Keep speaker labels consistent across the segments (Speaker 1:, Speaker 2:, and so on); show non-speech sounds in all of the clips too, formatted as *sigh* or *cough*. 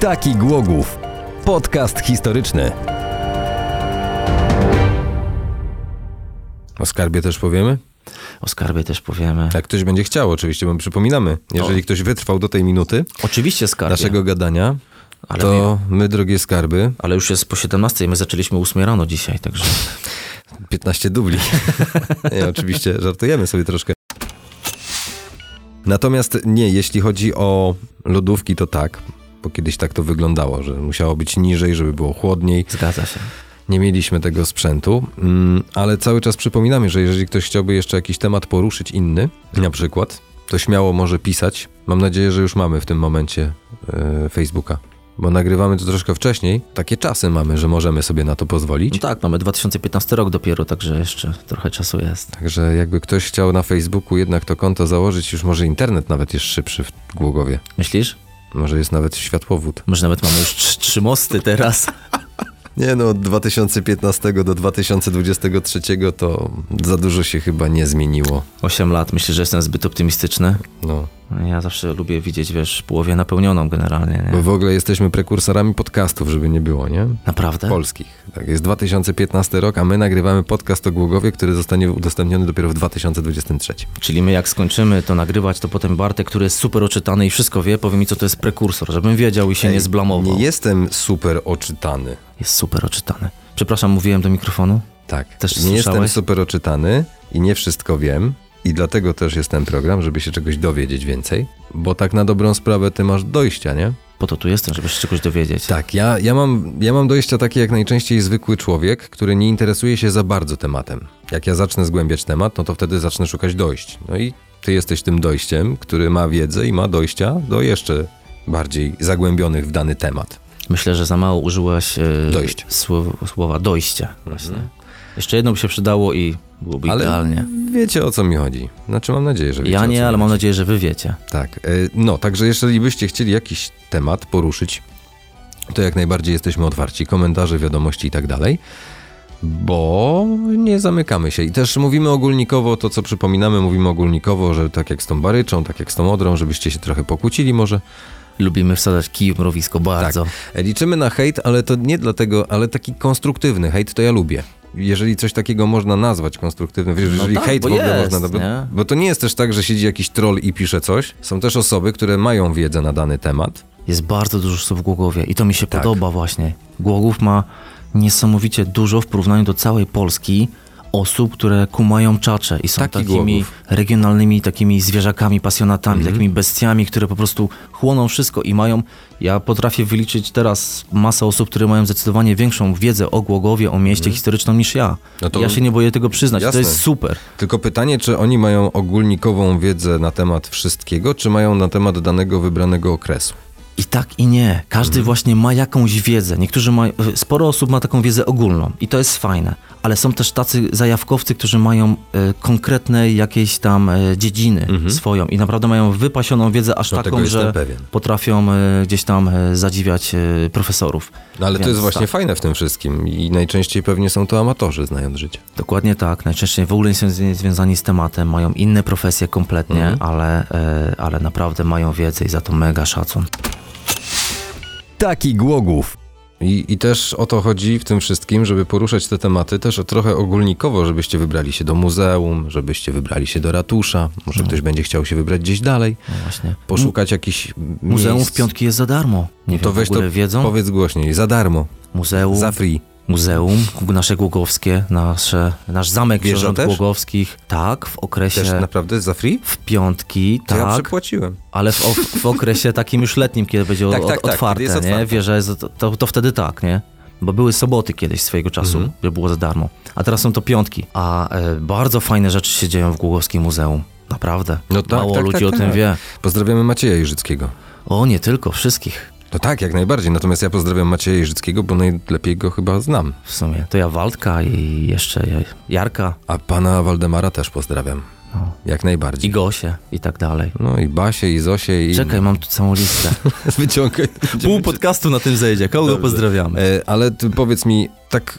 Speaker 1: Taki Głogów. Podcast historyczny. O skarbie też powiemy?
Speaker 2: O skarbie też powiemy.
Speaker 1: Jak ktoś będzie chciał, oczywiście, bo przypominamy, jeżeli ktoś wytrwał do tej minuty
Speaker 2: Oczywiście skarbie.
Speaker 1: naszego gadania,
Speaker 2: Tak Ale
Speaker 1: to my, drogie skarby,
Speaker 2: Ale już jest po 17, my zaczęliśmy 8 rano dzisiaj, także
Speaker 1: 15 dubli. Nie, oczywiście, żartujemy sobie troszkę. Natomiast nie, jeśli chodzi o lodówki, to tak, bo kiedyś tak to wyglądało, że musiało być niżej, żeby było chłodniej.
Speaker 2: zgadza się.
Speaker 1: Nie mieliśmy tego sprzętu, mm, ale cały czas przypominamy, że jeżeli ktoś chciałby jeszcze jakiś temat poruszyć inny, na przykład, to śmiało może pisać. Mam nadzieję, że już mamy w tym momencie e, Facebooka, bo nagrywamy to troszkę wcześniej. Takie czasy mamy, że możemy sobie na to pozwolić.
Speaker 2: No tak, mamy 2015 rok dopiero, także jeszcze trochę czasu jest.
Speaker 1: Także jakby ktoś chciał na Facebooku jednak to konto założyć, już może internet nawet jest szybszy w Głogowie.
Speaker 2: Myślisz?
Speaker 1: Może jest nawet światłowód.
Speaker 2: Może nawet mamy już trz- trzy mosty teraz.
Speaker 1: Nie no, od 2015 do 2023 to za dużo się chyba nie zmieniło.
Speaker 2: 8 lat, myślę, że jestem zbyt optymistyczny.
Speaker 1: No.
Speaker 2: Ja zawsze lubię widzieć, wiesz, połowie napełnioną generalnie,
Speaker 1: Bo
Speaker 2: nie?
Speaker 1: w ogóle jesteśmy prekursorami podcastów, żeby nie było, nie?
Speaker 2: Naprawdę?
Speaker 1: Polskich. Tak, jest 2015 rok, a my nagrywamy podcast o Głogowie, który zostanie udostępniony dopiero w 2023.
Speaker 2: Czyli my jak skończymy to nagrywać, to potem Bartek, który jest super oczytany i wszystko wie, powie mi, co to jest prekursor, żebym wiedział i się nie zblamował.
Speaker 1: Nie jestem super oczytany.
Speaker 2: Jest super oczytany. Przepraszam, mówiłem do mikrofonu?
Speaker 1: Tak.
Speaker 2: Też
Speaker 1: nie jestem
Speaker 2: słyszałeś?
Speaker 1: super oczytany i nie wszystko wiem. I dlatego też jest ten program, żeby się czegoś dowiedzieć więcej. Bo tak na dobrą sprawę ty masz dojścia, nie?
Speaker 2: Po to tu jestem, żeby się czegoś dowiedzieć.
Speaker 1: Tak, ja, ja, mam, ja mam dojścia takie jak najczęściej zwykły człowiek, który nie interesuje się za bardzo tematem. Jak ja zacznę zgłębiać temat, no to wtedy zacznę szukać dojść. No i ty jesteś tym dojściem, który ma wiedzę i ma dojścia do jeszcze bardziej zagłębionych w dany temat.
Speaker 2: Myślę, że za mało użyłeś e,
Speaker 1: Dojść.
Speaker 2: słow- słowa dojście. Właśnie. Jeszcze jedno by się przydało i
Speaker 1: Mhm.
Speaker 2: byłoby
Speaker 1: Ale
Speaker 2: idealnie.
Speaker 1: wiecie o co mi chodzi. Znaczy mam nadzieję, że wiecie
Speaker 2: Ja
Speaker 1: o co mi
Speaker 2: nie, ale mam nadzieję, że wy wiecie.
Speaker 1: Tak. y, No, także jeżeli byście chcieli jakiś temat poruszyć, to jak najbardziej jesteśmy otwarci. Komentarze, wiadomości i tak dalej. Bo nie zamykamy się. I też mówimy ogólnikowo to, co przypominamy, mówimy ogólnikowo, że tak jak z tą baryczą, tak jak z tą odrą, żebyście się trochę pokłócili może.
Speaker 2: Lubimy wsadzać kij w
Speaker 1: Tak.
Speaker 2: mrowisko bardzo.
Speaker 1: Liczymy na hejt, ale to nie dlatego, ale taki konstruktywny hejt to ja lubię. Jeżeli coś takiego można nazwać konstruktywnym, wiesz, jeżeli
Speaker 2: tak,
Speaker 1: hejt
Speaker 2: bo
Speaker 1: w ogóle
Speaker 2: jest,
Speaker 1: można.
Speaker 2: nie?
Speaker 1: Bo to nie jest też tak, że siedzi jakiś troll i pisze coś. Są też osoby, które mają wiedzę na dany temat.
Speaker 2: Jest bardzo dużo słów w Głogowie i to mi
Speaker 1: Tak.
Speaker 2: się podoba właśnie. Głogów ma niesamowicie dużo w porównaniu do całej Polski osób, które kumają czacze i są
Speaker 1: Taki
Speaker 2: takimi
Speaker 1: Głogów. Mhm.
Speaker 2: regionalnymi takimi zwierzakami, pasjonatami, takimi bestiami, które po prostu chłoną wszystko i mają... Ja potrafię wyliczyć teraz masę osób, które mają zdecydowanie większą wiedzę o Głogowie, o mieście historyczną niż ja.
Speaker 1: Mhm. No to-
Speaker 2: Ja się nie boję tego przyznać,
Speaker 1: Jasne.
Speaker 2: to jest super.
Speaker 1: Tylko pytanie, czy oni mają ogólnikową wiedzę na temat wszystkiego, czy mają na temat danego wybranego okresu.
Speaker 2: I tak i nie. Każdy
Speaker 1: Mhm.
Speaker 2: właśnie ma jakąś wiedzę. Niektórzy mają, sporo osób ma taką wiedzę ogólną i to jest fajne, ale są też tacy zajawkowcy, którzy mają e, konkretne jakieś tam e, dziedziny swoją i naprawdę mają wypasioną wiedzę aż
Speaker 1: No, tego
Speaker 2: taką,
Speaker 1: Mhm. jestem
Speaker 2: że
Speaker 1: pewien.
Speaker 2: potrafią e, gdzieś tam e, zadziwiać e, profesorów.
Speaker 1: No ale to
Speaker 2: Więc
Speaker 1: jest właśnie
Speaker 2: tak,
Speaker 1: fajne w tym wszystkim i najczęściej pewnie są to amatorzy, znając życie.
Speaker 2: dokładnie tak. Najczęściej w ogóle nie są z- związani z tematem, mają inne profesje kompletnie,
Speaker 1: Mhm.
Speaker 2: ale, e, ale naprawdę mają wiedzę i za to mega szacun.
Speaker 1: Taki Głogów. I, I też o to chodzi w tym wszystkim, żeby poruszać te tematy też trochę ogólnikowo, żebyście wybrali się do muzeum, żebyście wybrali się do ratusza, może ktoś będzie chciał się wybrać gdzieś dalej,
Speaker 2: No właśnie.
Speaker 1: poszukać jakichś
Speaker 2: Muzeum
Speaker 1: miejsc.
Speaker 2: w piątki jest za darmo. Nie
Speaker 1: To
Speaker 2: wiem,
Speaker 1: weź
Speaker 2: w ogóle
Speaker 1: to
Speaker 2: wiedzą.
Speaker 1: powiedz głośniej, za darmo,
Speaker 2: Muzeum,
Speaker 1: za free.
Speaker 2: muzeum nasze Głogowskie, nasze, nasz zamek
Speaker 1: Wieża
Speaker 2: Książąt
Speaker 1: też?
Speaker 2: Głogowskich. Tak, w okresie
Speaker 1: Też naprawdę za free?
Speaker 2: w piątki,
Speaker 1: To ja
Speaker 2: tak,
Speaker 1: przepłaciłem.
Speaker 2: ale w, o- w okresie takim już letnim, kiedy
Speaker 1: *laughs*
Speaker 2: będzie
Speaker 1: Tak,
Speaker 2: o-
Speaker 1: tak, tak,
Speaker 2: otwarte,
Speaker 1: kiedy jest otwarte.
Speaker 2: nie? Wieża jest, to, to wtedy tak, nie? Bo były soboty kiedyś swojego czasu,
Speaker 1: Mhm.
Speaker 2: gdzie było za darmo. A teraz są to piątki. A e, bardzo fajne rzeczy się dzieją w Głogowskim Muzeum. Naprawdę.
Speaker 1: No tak,
Speaker 2: Mało
Speaker 1: tak,
Speaker 2: ludzi
Speaker 1: tak,
Speaker 2: o tym
Speaker 1: tak.
Speaker 2: wie.
Speaker 1: Pozdrawiamy Macieja Jerzyckiego.
Speaker 2: O, nie tylko, wszystkich.
Speaker 1: No tak, jak najbardziej. Natomiast ja pozdrawiam Macieja Jerzyckiego, bo najlepiej go chyba znam.
Speaker 2: W sumie. To ja Waldka i jeszcze Jarka
Speaker 1: A pana Waldemara też pozdrawiam. Jak
Speaker 2: i
Speaker 1: najbardziej.
Speaker 2: Gosie i tak dalej.
Speaker 1: No i Basie, i Zosie, i...
Speaker 2: Czekaj, mam tu całą listę.
Speaker 1: Wyciągaj.
Speaker 2: Pół podcastu na tym zejdzie. Kogo pozdrawiamy?
Speaker 1: E, Ale ty powiedz mi, tak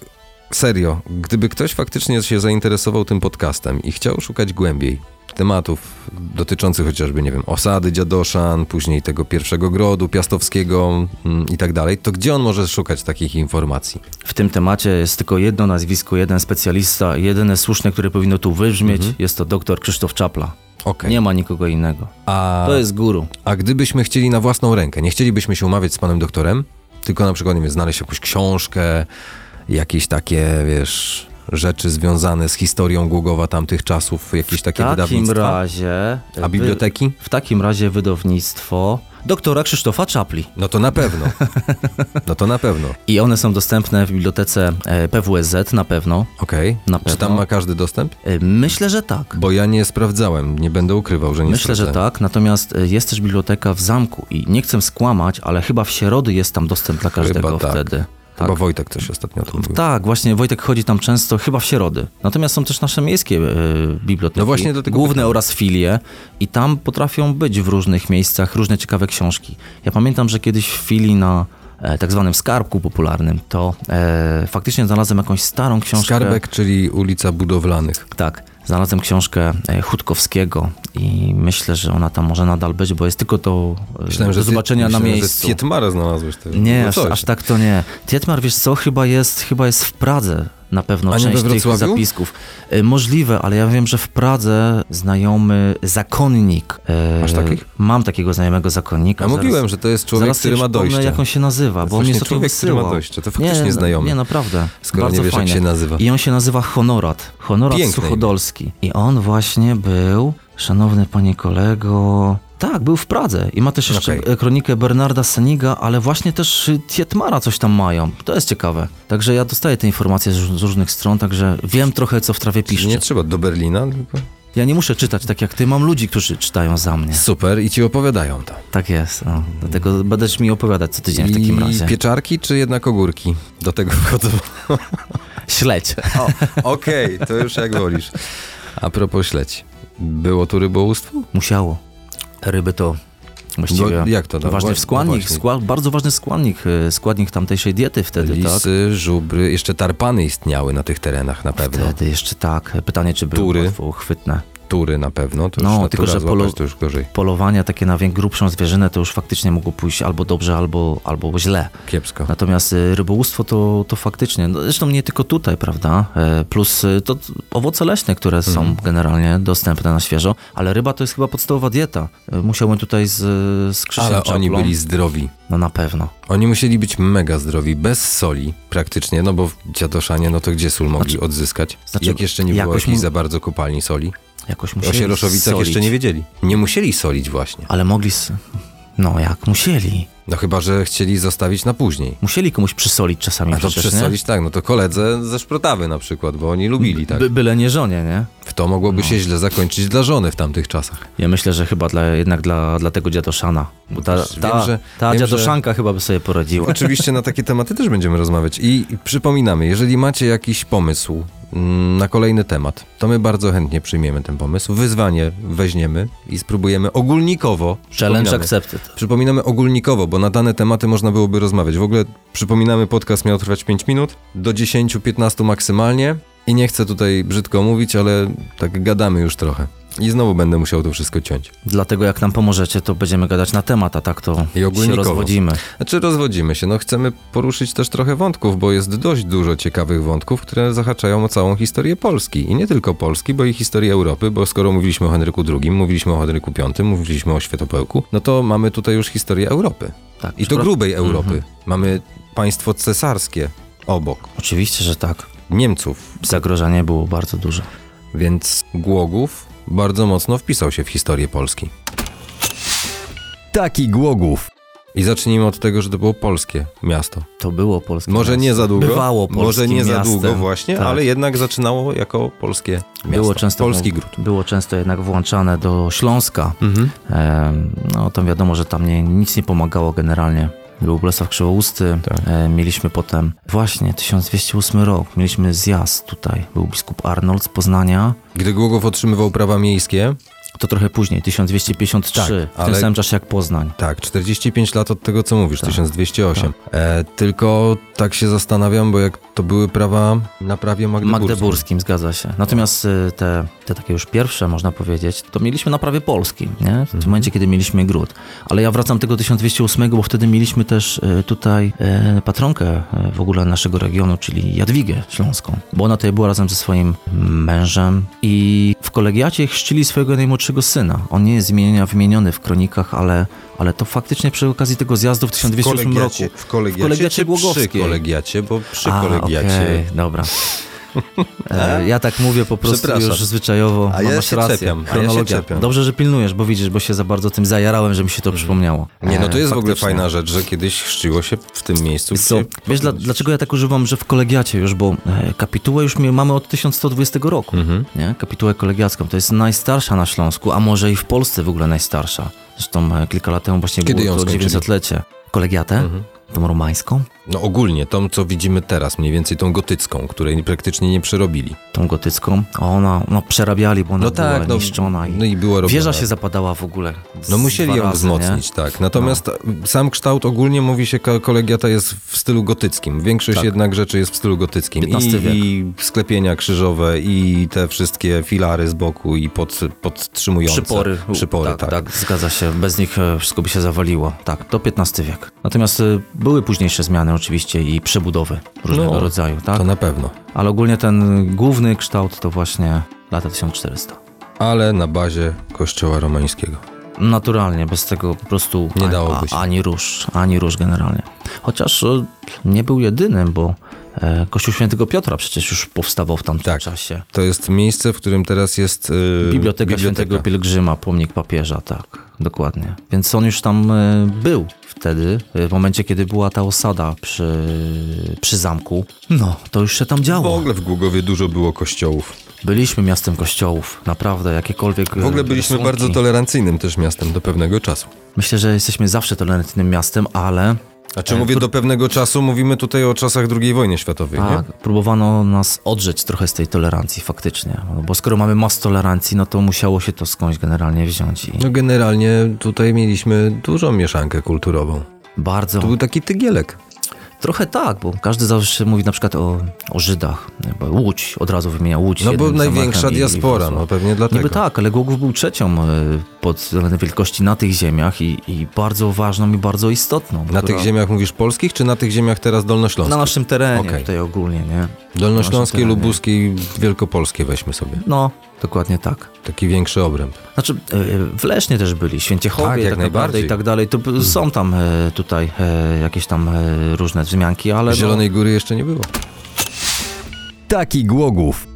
Speaker 1: serio, gdyby ktoś faktycznie się zainteresował tym podcastem i chciał szukać głębiej, tematów dotyczących chociażby, nie wiem, osady dziadoszan, później tego pierwszego grodu piastowskiego mm, i tak dalej, to gdzie on może szukać takich informacji?
Speaker 2: W tym temacie jest tylko jedno nazwisko, jeden specjalista, jedyne słuszne, które powinno tu wybrzmieć, jest to doktor Krzysztof Czapla.
Speaker 1: Okej.
Speaker 2: Nie ma nikogo innego.
Speaker 1: A,
Speaker 2: To jest guru.
Speaker 1: a gdybyśmy chcieli na własną rękę, nie chcielibyśmy się umawiać z panem doktorem, tylko na przykład, nie wiem, znaleźć jakąś książkę, jakieś takie, wiesz, rzeczy związane z historią Głogowa tamtych czasów, jakieś takie
Speaker 2: w takim
Speaker 1: wydawnictwa,
Speaker 2: razie...
Speaker 1: a biblioteki?
Speaker 2: W takim razie wydawnictwo doktora Krzysztofa Czapli.
Speaker 1: No to na pewno. No to na pewno.
Speaker 2: I one są dostępne w bibliotece e, PWSZ na pewno.
Speaker 1: Okej.
Speaker 2: Na
Speaker 1: Czy tam
Speaker 2: pewno.
Speaker 1: ma każdy dostęp?
Speaker 2: E, Myślę, że tak.
Speaker 1: Bo ja nie sprawdzałem, nie będę ukrywał, że nie
Speaker 2: Myślę, że
Speaker 1: sprawdzałem.
Speaker 2: tak, natomiast e, jest też biblioteka w zamku i nie chcę skłamać, ale chyba w środy jest tam dostęp dla każdego
Speaker 1: tak.
Speaker 2: wtedy.
Speaker 1: Chyba Wojtek coś ostatnio o tym mówił.
Speaker 2: Tak, właśnie Wojtek chodzi tam często, chyba w środy. Natomiast są też nasze miejskie e, biblioteki,
Speaker 1: No właśnie do tego
Speaker 2: główne
Speaker 1: pytałem.
Speaker 2: oraz filie i tam potrafią być w różnych miejscach różne ciekawe książki. Ja pamiętam, że kiedyś w filii na e, tak zwanym skarbku popularnym to e, faktycznie znalazłem jakąś starą książkę.
Speaker 1: Skarbek, czyli ulica Budowlanych.
Speaker 2: Tak, znalazłem książkę e, Hutkowskiego i myślę, że ona tam może nadal być, bo jest tylko to e, do
Speaker 1: ty-
Speaker 2: zobaczenia na
Speaker 1: myślałem,
Speaker 2: miejscu.
Speaker 1: Że Tietmara znalazłeś też.
Speaker 2: Nie,
Speaker 1: no
Speaker 2: aż,
Speaker 1: coś.
Speaker 2: aż tak to nie. Tietmar, wiesz co, chyba jest, chyba jest w Pradze na pewno
Speaker 1: A nie
Speaker 2: część
Speaker 1: we
Speaker 2: tych
Speaker 1: Wrocławiu?
Speaker 2: zapisków. E, możliwe, ale ja wiem, że w Pradze znajomy zakonnik. E,
Speaker 1: Masz takich?
Speaker 2: Mam takiego znajomego zakonnika.
Speaker 1: A mówiłem, że to jest człowiek,
Speaker 2: zaraz
Speaker 1: który
Speaker 2: sobie
Speaker 1: ma
Speaker 2: przypomnę,
Speaker 1: dojście.
Speaker 2: jak on się nazywa, bo on
Speaker 1: właśnie
Speaker 2: mnie sobie
Speaker 1: człowiek, który ma
Speaker 2: wysyłał.
Speaker 1: dojście, to faktycznie
Speaker 2: nie, no,
Speaker 1: znajomy.
Speaker 2: Nie, naprawdę.
Speaker 1: Skoro
Speaker 2: Bardzo
Speaker 1: nie wiesz, jak
Speaker 2: fajne.
Speaker 1: się nazywa.
Speaker 2: I on się nazywa Honorat. Honorat
Speaker 1: Piękne imię.
Speaker 2: Suchodolski. I on właśnie był, szanowny panie kolego... Tak, był w Pradze i ma też jeszcze
Speaker 1: Okej.
Speaker 2: e, kronikę Bernarda Seniga, ale właśnie też y, Tietmara coś tam mają. To jest ciekawe. Także ja dostaję te informacje z, z różnych stron, także wiem trochę, co w trawie piszczy.
Speaker 1: Nie trzeba do Berlina, tylko...
Speaker 2: Ja nie muszę czytać tak jak ty, mam ludzi, którzy czytają za mnie.
Speaker 1: Super, i ci opowiadają to.
Speaker 2: Tak jest. No, dlatego będziesz mi opowiadać co tydzień w takim
Speaker 1: I
Speaker 2: razie.
Speaker 1: pieczarki, czy jednak ogórki? Do tego wchodzą.
Speaker 2: Śledź.
Speaker 1: O, Okej, *laughs* to już jak wolisz. A propos śledź. Było tu rybołówstwo?
Speaker 2: Musiało. Ryby to właściwie
Speaker 1: No, jak to, no,
Speaker 2: ważny
Speaker 1: właśnie, no
Speaker 2: składnik,
Speaker 1: właśnie.
Speaker 2: skła- bardzo ważny składnik, y, składnik tamtejszej diety wtedy, tak?
Speaker 1: Lisy, żubry, jeszcze tarpany istniały na tych terenach na pewno.
Speaker 2: Wtedy jeszcze tak. Pytanie, czy były
Speaker 1: Tury.
Speaker 2: łatwo uchwytne.
Speaker 1: Tury na pewno, to już
Speaker 2: No,
Speaker 1: natura
Speaker 2: tylko, że
Speaker 1: złapać,
Speaker 2: polo-
Speaker 1: to już gorzej.
Speaker 2: Polowania takie na wiek grubszą zwierzynę to już faktycznie mogło pójść albo dobrze, albo, albo źle.
Speaker 1: Kiepsko.
Speaker 2: Natomiast y, rybołówstwo to, to faktycznie, no zresztą nie tylko tutaj, prawda? E, Plus y, to t- owoce leśne, które
Speaker 1: Mhm.
Speaker 2: są generalnie dostępne na świeżo, ale ryba to jest chyba podstawowa dieta. E, Musiałem tutaj z, z Krzysiem
Speaker 1: Ale oni
Speaker 2: Czaplą-
Speaker 1: byli zdrowi.
Speaker 2: No na pewno.
Speaker 1: Oni musieli być mega zdrowi, bez soli praktycznie, no bo w dziadoszanie, no to gdzie sól mogli odzyskać?
Speaker 2: znaczy,
Speaker 1: Jak jeszcze nie było
Speaker 2: jakoś
Speaker 1: jakichś
Speaker 2: mu-
Speaker 1: za bardzo kopalni soli?
Speaker 2: Jakoś
Speaker 1: O
Speaker 2: musieli
Speaker 1: sieroszowicach
Speaker 2: solić.
Speaker 1: jeszcze nie wiedzieli. Nie musieli solić właśnie.
Speaker 2: Ale mogli... s- No jak, musieli.
Speaker 1: No chyba, że chcieli zostawić na później.
Speaker 2: Musieli komuś przysolić czasami
Speaker 1: A to
Speaker 2: przecież,
Speaker 1: przesolić tak, no to koledze ze Szprotawy na przykład, bo oni lubili
Speaker 2: nie?
Speaker 1: tak.
Speaker 2: By, no. byle nie żonie, nie?
Speaker 1: W to mogłoby się źle zakończyć dla żony w tamtych czasach.
Speaker 2: Ja myślę, że chyba dla, jednak dla, dla tego dziadoszana. Bo ta
Speaker 1: Wiesz,
Speaker 2: ta,
Speaker 1: wiem, że-
Speaker 2: ta
Speaker 1: wiem, że-
Speaker 2: dziadoszanka chyba by sobie
Speaker 1: *laughs*
Speaker 2: poradziła.
Speaker 1: Oczywiście na takie tematy też będziemy rozmawiać. I przypominamy, jeżeli macie jakiś pomysł mm, na kolejny temat, to my bardzo chętnie przyjmiemy ten pomysł. Wyzwanie weźmiemy i spróbujemy ogólnikowo.
Speaker 2: Challenge
Speaker 1: przypominamy,
Speaker 2: accepted.
Speaker 1: Przypominamy ogólnikowo, bo na dane tematy można byłoby rozmawiać. W ogóle przypominamy, podcast miał trwać 5 minut, do 10-15 maksymalnie. I nie chcę tutaj brzydko mówić, ale tak gadamy już trochę. I znowu będę musiał to wszystko ciąć.
Speaker 2: Dlatego jak nam pomożecie, to będziemy gadać na temat, a tak to
Speaker 1: I ogólnikowo.
Speaker 2: się rozwodzimy.
Speaker 1: Znaczy rozwodzimy się, no chcemy poruszyć też trochę wątków, bo jest dość dużo ciekawych wątków, które zahaczają o całą historię Polski. I nie tylko Polski, bo i historię Europy, bo skoro mówiliśmy o Henryku II, mówiliśmy o Henryku V, mówiliśmy o Świętopełku, no to mamy tutaj już historię Europy.
Speaker 2: Tak,
Speaker 1: I to
Speaker 2: przepra-
Speaker 1: grubej Europy. Mamy państwo cesarskie obok
Speaker 2: Oczywiście, że tak.
Speaker 1: Niemców,
Speaker 2: Zagrożenie było bardzo duże.
Speaker 1: więc Głogów bardzo mocno wpisał się w historię Polski. Taki Głogów. I zacznijmy od tego, że to było polskie miasto.
Speaker 2: To było polskie
Speaker 1: Może
Speaker 2: miasto.
Speaker 1: nie za długo.
Speaker 2: Bywało polskim
Speaker 1: Może nie za
Speaker 2: miastem.
Speaker 1: długo właśnie,
Speaker 2: Tak.
Speaker 1: ale jednak zaczynało jako polskie miasto.
Speaker 2: Było często, tak.
Speaker 1: Polski gród.
Speaker 2: Było często jednak włączane do Śląska. Em, no to wiadomo, że tam nie, nic nie pomagało generalnie. Był Bolesław Krzywousty,
Speaker 1: Tak.
Speaker 2: e, mieliśmy potem, właśnie 1208 rok, mieliśmy zjazd tutaj. Był biskup Arnold z Poznania.
Speaker 1: Gdy Głogow otrzymywał prawa miejskie,
Speaker 2: To trochę później, 1253,
Speaker 1: Tak,
Speaker 2: w
Speaker 1: ale-
Speaker 2: tym samym czasie jak Poznań.
Speaker 1: Tak, 45 lat od tego, co mówisz,
Speaker 2: Tak.
Speaker 1: 1208. E, tylko tak się zastanawiam, bo jak to były prawa na prawie magdeburskim.
Speaker 2: Magdeburskim, zgadza się. Natomiast y, te, te takie już pierwsze, można powiedzieć, to mieliśmy na prawie polskim, nie? w
Speaker 1: Mhm.
Speaker 2: tym momencie, kiedy mieliśmy gród. Ale ja wracam do tego 1208, bo wtedy mieliśmy też y, tutaj y, patronkę y, w ogóle naszego regionu, czyli Jadwigę Śląską, bo ona tutaj była razem ze swoim mężem i w kolegiacie chrzcili swojego najmłodszego syna. On nie jest zmienia, wymieniony w kronikach, ale, ale to faktycznie przy okazji tego zjazdu w 1208 roku.
Speaker 1: kolegiacie- W kolegiacie,
Speaker 2: W kolegiacie
Speaker 1: czy
Speaker 2: Głogowskiej.
Speaker 1: Przy kolegiacie, bo przy
Speaker 2: A,
Speaker 1: kolegiacie.
Speaker 2: okej,
Speaker 1: *laughs*
Speaker 2: dobra. E, ja tak mówię po prostu
Speaker 1: Przepraszam.
Speaker 2: już zwyczajowo.
Speaker 1: A
Speaker 2: ma-
Speaker 1: ja
Speaker 2: masz
Speaker 1: się
Speaker 2: rację.
Speaker 1: czepiam, a ja się
Speaker 2: Chronologia.
Speaker 1: czepiam.
Speaker 2: Dobrze, że pilnujesz, bo widzisz, bo się za bardzo tym zajarałem, że mi się to przypomniało.
Speaker 1: Nie, no
Speaker 2: E,
Speaker 1: to jest w ogóle
Speaker 2: faktycznie.
Speaker 1: fajna rzecz, że kiedyś chrzciło się w tym miejscu.
Speaker 2: Co,
Speaker 1: gdzie-
Speaker 2: wiesz, dla, dlaczego ja tak używam, że w kolegiacie już, bo e, kapitułę już mi- mamy od 1120 roku,
Speaker 1: Hmm. Mhm.
Speaker 2: nie? Kapitułę kolegiacką, to jest najstarsza na Śląsku, a może i w Polsce w ogóle najstarsza. Zresztą e, kilka lat temu właśnie
Speaker 1: Kiedy ją
Speaker 2: było to
Speaker 1: skończyli? Mhm.
Speaker 2: 900-lecie. Kolegiatę, tą romańską,
Speaker 1: No ogólnie, tą co widzimy teraz, mniej więcej tą gotycką, której praktycznie nie przerobili.
Speaker 2: tą gotycką, a ona, no przerabiali, bo ona
Speaker 1: No
Speaker 2: była
Speaker 1: tak, no,
Speaker 2: niszczona i...
Speaker 1: no i była robiona.
Speaker 2: Wieża się zapadała w ogóle. z-
Speaker 1: No musieli
Speaker 2: dwa
Speaker 1: ją
Speaker 2: razy,
Speaker 1: wzmocnić,
Speaker 2: Nie? No.
Speaker 1: tak. Natomiast sam kształt ogólnie mówi się, ko- kolegiata jest w stylu gotyckim. Większość
Speaker 2: Tak.
Speaker 1: jednak rzeczy jest w stylu gotyckim. I,
Speaker 2: XV wiek.
Speaker 1: I sklepienia krzyżowe, i te wszystkie filary z boku, i pod, podtrzymujące.
Speaker 2: Przypory.
Speaker 1: Przypory, tak.
Speaker 2: tak, Zgadza się, bez nich e, wszystko by się zawaliło. Tak, to XV wiek. Natomiast e, były późniejsze zmiany oczywiście i przebudowy różnego
Speaker 1: No,
Speaker 2: rodzaju, tak?
Speaker 1: To na pewno.
Speaker 2: Ale ogólnie ten główny kształt to właśnie lata 1400.
Speaker 1: Ale na bazie kościoła romańskiego.
Speaker 2: Naturalnie, bez tego po prostu
Speaker 1: Nie
Speaker 2: ani,
Speaker 1: dałoby się.
Speaker 2: A, ani róż, ani róż generalnie. Chociaż e, nie był jedynym, bo e, Kościół Świętego Piotra przecież już powstawał w tamtym
Speaker 1: Tak.
Speaker 2: czasie.
Speaker 1: To jest miejsce, w którym teraz jest yy,
Speaker 2: Biblioteka, Świętego Pielgrzyma, pomnik papieża, tak, dokładnie. Więc on już tam e, był wtedy, e, w momencie, kiedy była ta osada przy, przy zamku. No, to już się tam
Speaker 1: W
Speaker 2: działo.
Speaker 1: ogóle w Głogowie dużo było kościołów.
Speaker 2: Byliśmy miastem kościołów, naprawdę, jakiekolwiek... e,
Speaker 1: W ogóle byliśmy bardzo tolerancyjnym też miastem do pewnego czasu.
Speaker 2: Myślę, że jesteśmy zawsze tolerantnym miastem, ale... E,
Speaker 1: Znaczy mówię do pewnego czasu, mówimy tutaj o czasach II wojny światowej, nie?
Speaker 2: Tak, próbowano nas odrzeć trochę z tej tolerancji faktycznie, No, bo skoro mamy mas tolerancji, no to musiało się to skądś generalnie wziąć i
Speaker 1: No generalnie tutaj mieliśmy dużą mieszankę kulturową.
Speaker 2: bardzo...
Speaker 1: To był taki tygielek. No
Speaker 2: Trochę tak, bo każdy zawsze mówi na przykład o, o Żydach, nie? bo Łódź, od razu wymienia Łódź.
Speaker 1: No bo
Speaker 2: jednym
Speaker 1: największa
Speaker 2: zamachem i- i
Speaker 1: diaspora,
Speaker 2: Wrocław.
Speaker 1: no pewnie dlatego.
Speaker 2: Niby tak, ale Głogów był trzecią y, pod względem wielkości na tych ziemiach i, i bardzo ważną i bardzo istotną.
Speaker 1: Na
Speaker 2: która-
Speaker 1: tych ziemiach mówisz polskich, czy na tych ziemiach teraz
Speaker 2: Na
Speaker 1: dolnośląskich?
Speaker 2: naszym terenie
Speaker 1: Okej.
Speaker 2: tutaj ogólnie, nie?
Speaker 1: Dolnośląskie,
Speaker 2: na naszym
Speaker 1: lubuskie i wielkopolskie weźmy sobie.
Speaker 2: No, dokładnie tak.
Speaker 1: Taki większy obręb.
Speaker 2: Znaczy, y, w Lesznie też byli, Święciechowie
Speaker 1: Tak,
Speaker 2: tak,
Speaker 1: jak
Speaker 2: tak naprawdę
Speaker 1: najbardziej. Mhm.
Speaker 2: i tak dalej. To b- są tam y, tutaj y, jakieś tam y, różne wzmianki, ale no,
Speaker 1: Zielonej Góry jeszcze nie było.
Speaker 3: Taki Głogów.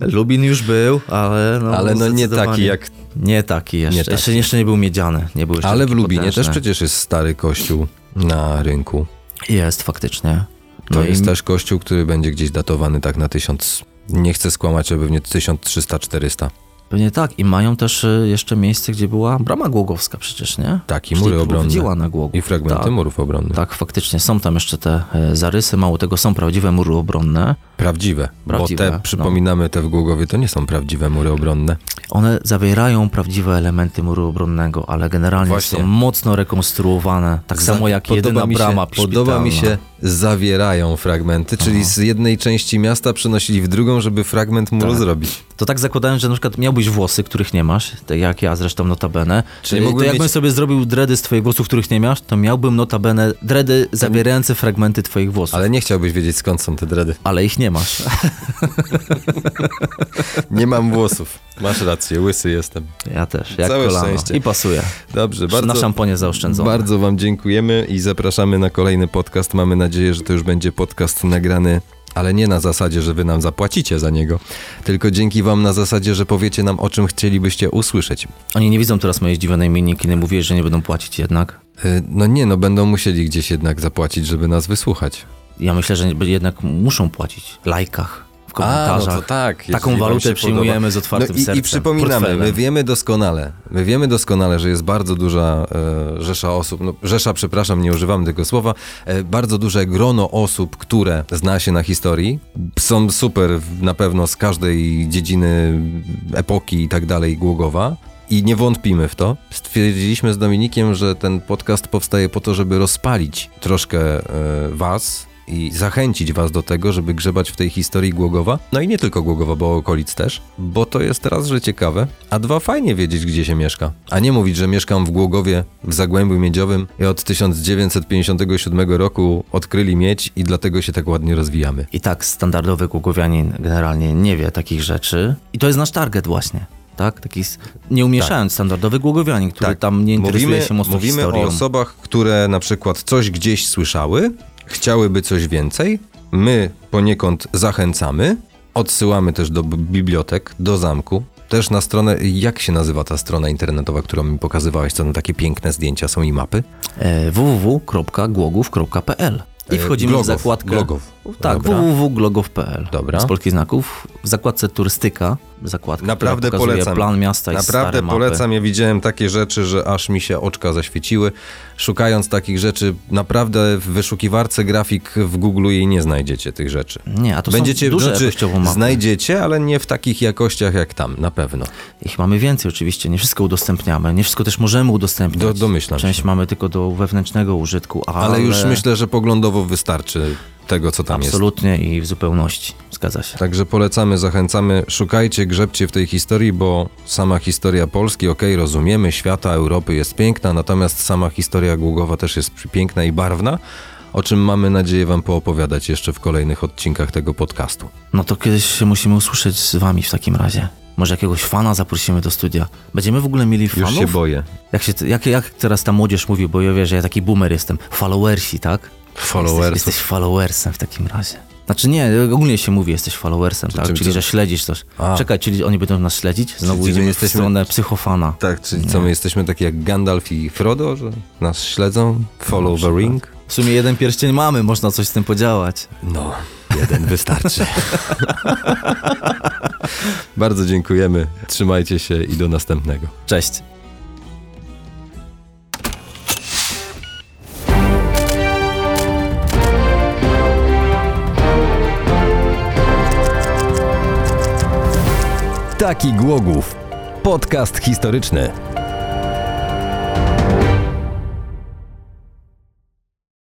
Speaker 2: Lubin już był, ale no,
Speaker 1: Ale no nie
Speaker 2: zdecydowanie-
Speaker 1: taki jak...
Speaker 2: Nie taki jeszcze.
Speaker 1: Nie taki.
Speaker 2: Jeszcze, jeszcze nie był miedziany. Nie był jeszcze
Speaker 1: Ale w
Speaker 2: taki
Speaker 1: Lubinie
Speaker 2: potężny.
Speaker 1: też przecież jest stary kościół na rynku.
Speaker 2: Jest faktycznie.
Speaker 1: To jest
Speaker 2: No i
Speaker 1: też kościół, który będzie gdzieś datowany tak na 1000. Nie chcę skłamać, ale pewnie 1300-400.
Speaker 2: Pewnie tak. I mają też y, jeszcze miejsce, gdzie była brama głogowska przecież, nie?
Speaker 1: Tak, i
Speaker 2: Czyli
Speaker 1: mury
Speaker 2: tu
Speaker 1: obronne.
Speaker 2: Dzieła na Głogu.
Speaker 1: I fragmenty
Speaker 2: tak,
Speaker 1: murów obronnych.
Speaker 2: tak, faktycznie. Są tam jeszcze te y, zarysy. Mało tego, są prawdziwe mury obronne.
Speaker 1: Prawdziwe,
Speaker 2: Prawdziwe,
Speaker 1: Bo te,
Speaker 2: no.
Speaker 1: przypominamy, te w Głogowie to nie są prawdziwe mury obronne.
Speaker 2: One zawierają prawdziwe elementy muru obronnego, ale generalnie
Speaker 1: Właśnie.
Speaker 2: są mocno rekonstruowane. Tak samo jak
Speaker 1: Podoba
Speaker 2: jedyna
Speaker 1: mi się-
Speaker 2: brama no.
Speaker 1: Podoba mi
Speaker 2: szpitalna.
Speaker 1: się, zawierają fragmenty, czyli z jednej części miasta przenosili w drugą, żeby fragment muru zrobić.
Speaker 2: To tak zakładałem, że na przykład miałbyś włosy, których nie masz, tak jak ja zresztą notabene.
Speaker 1: Czyli
Speaker 2: Czyli to
Speaker 1: mógłbym
Speaker 2: jakbym
Speaker 1: mieć-
Speaker 2: sobie zrobił dredy z twoich włosów, których nie masz, to miałbym notabene dredy zawierające fragmenty twoich włosów. Ale...
Speaker 1: Ale nie chciałbyś wiedzieć, skąd są te dredy.
Speaker 2: ich nie masz. *laughs*
Speaker 1: Nie mam włosów. Masz rację, łysy jestem.
Speaker 2: Ja też, jak
Speaker 1: Całe
Speaker 2: kolano.
Speaker 1: szczęście.
Speaker 2: I pasuje.
Speaker 1: Dobrze,
Speaker 2: Bardzo...
Speaker 1: bardzo...
Speaker 2: Na szamponie zaoszczędzone.
Speaker 1: Bardzo Wam dziękujemy i zapraszamy na kolejny podcast. Mamy nadzieję, że to już będzie podcast nagrany, ale nie na zasadzie, że Wy nam zapłacicie za niego, tylko dzięki Wam na zasadzie, że powiecie nam, o czym chcielibyście usłyszeć.
Speaker 2: Oni nie widzą teraz mojej zdziwionej miniki, nie mówię, że nie będą płacić jednak.
Speaker 1: Yy, No nie, no będą musieli gdzieś jednak zapłacić, żeby nas wysłuchać.
Speaker 2: Ja myślę, że jednak muszą płacić. Lajkach, w komentarzach.
Speaker 1: no tak.
Speaker 2: Taką
Speaker 1: jeśli wam
Speaker 2: walutę
Speaker 1: się
Speaker 2: przyjmujemy z otwartym
Speaker 1: no i,
Speaker 2: sercem.
Speaker 1: I przypominamy,
Speaker 2: portfelem.
Speaker 1: my wiemy doskonale, my wiemy doskonale, że jest bardzo duża e, rzesza osób, no, rzesza, przepraszam, nie używam tego słowa, e, bardzo duże grono osób, które zna się na historii, są super w- na pewno z każdej dziedziny, epoki i tak dalej, Głogowa, i nie wątpimy w to. Stwierdziliśmy z Dominikiem, że ten podcast powstaje po to, żeby rozpalić troszkę e, was i zachęcić was do tego, żeby grzebać w tej historii Głogowa. No i nie tylko Głogowa, bo okolic też, bo to jest raz, że ciekawe, a dwa fajnie wiedzieć, gdzie się mieszka. A nie mówić, że mieszkam w Głogowie, w Zagłębiu Miedziowym i od 1957 roku odkryli miedź i dlatego się tak ładnie rozwijamy.
Speaker 2: I tak standardowy Głogowianin generalnie nie wie takich rzeczy. I to jest nasz target właśnie. Tak? Taki, s- nie umieszając, standardowy Głogowianin, który
Speaker 1: Tak.
Speaker 2: tam nie interesuje
Speaker 1: Mówimy,
Speaker 2: się mocno
Speaker 1: mówimy
Speaker 2: historią.
Speaker 1: o osobach, które na przykład coś gdzieś słyszały, chciałyby coś więcej. My poniekąd zachęcamy, odsyłamy też do b- bibliotek, do zamku. Też na stronę, jak się nazywa ta strona internetowa, którą mi pokazywałeś, co tam takie piękne zdjęcia są i mapy?
Speaker 2: E, www.głogów.pl i
Speaker 1: E,
Speaker 2: wchodzimy
Speaker 1: Glogow,
Speaker 2: w zakładkę.
Speaker 1: Glogow.
Speaker 2: Tak,
Speaker 1: Dobra.
Speaker 2: www.glogow.pl.
Speaker 1: Dobra.
Speaker 2: Z polskich znaków. W zakładce turystyka, zakładka,
Speaker 1: Naprawdę
Speaker 2: która pokazuje
Speaker 1: polecam.
Speaker 2: plan miasta i
Speaker 1: Naprawdę
Speaker 2: stare mapy.
Speaker 1: polecam, ja widziałem takie rzeczy, że aż mi się oczka zaświeciły. Szukając takich rzeczy, naprawdę w wyszukiwarce grafik w Google jej nie znajdziecie tych rzeczy.
Speaker 2: Nie, a to
Speaker 1: Będziecie
Speaker 2: są duże
Speaker 1: znaczy,
Speaker 2: jakościowo mapy.
Speaker 1: znajdziecie, ale nie w takich jakościach jak tam, na pewno.
Speaker 2: Ich mamy więcej oczywiście, nie wszystko udostępniamy, nie wszystko też możemy udostępnić.
Speaker 1: Do- domyślam
Speaker 2: Część
Speaker 1: się.
Speaker 2: mamy tylko do wewnętrznego użytku, ale,
Speaker 1: Ale, już myślę, że poglądowo wystarczy tego, co tam jest.
Speaker 2: absolutnie i w zupełności, zgadza się.
Speaker 1: Także polecamy, zachęcamy, szukajcie, grzebcie w tej historii, bo sama historia Polski, okej, rozumiemy, świata, Europy jest piękna, natomiast sama historia Głogowa też jest piękna i barwna, o czym mamy nadzieję wam poopowiadać jeszcze w kolejnych odcinkach tego podcastu.
Speaker 2: No to kiedyś się musimy usłyszeć z wami w takim razie. Może jakiegoś fana zaprosimy do studia. Będziemy w ogóle mieli
Speaker 1: Już
Speaker 2: fanów?
Speaker 1: się boję.
Speaker 2: jak, się, jak, jak teraz ta młodzież mówi, bo ja wiesz, że ja taki boomer jestem. Followersi, tak?
Speaker 1: Followersów.
Speaker 2: Jesteś, jesteś followersem w takim razie. Znaczy nie, ogólnie się mówi, jesteś followersem, tak?
Speaker 1: czy-
Speaker 2: czyli,
Speaker 1: czy-
Speaker 2: że śledzisz coś.
Speaker 1: A.
Speaker 2: Czekaj, czyli oni będą nas śledzić? Znowu
Speaker 1: Czyli my
Speaker 2: idziemy
Speaker 1: jesteśmy-
Speaker 2: w stronę psychofana.
Speaker 1: Tak, czyli co, my jesteśmy takie jak Gandalf i Frodo, że nas śledzą, follow the ring?
Speaker 2: W sumie jeden pierścień mamy, można coś z tym podziałać.
Speaker 1: No, jeden wystarczy. *laughs* Bardzo dziękujemy, trzymajcie się i do następnego.
Speaker 2: Cześć.
Speaker 3: Taki Głogów. Podcast historyczny.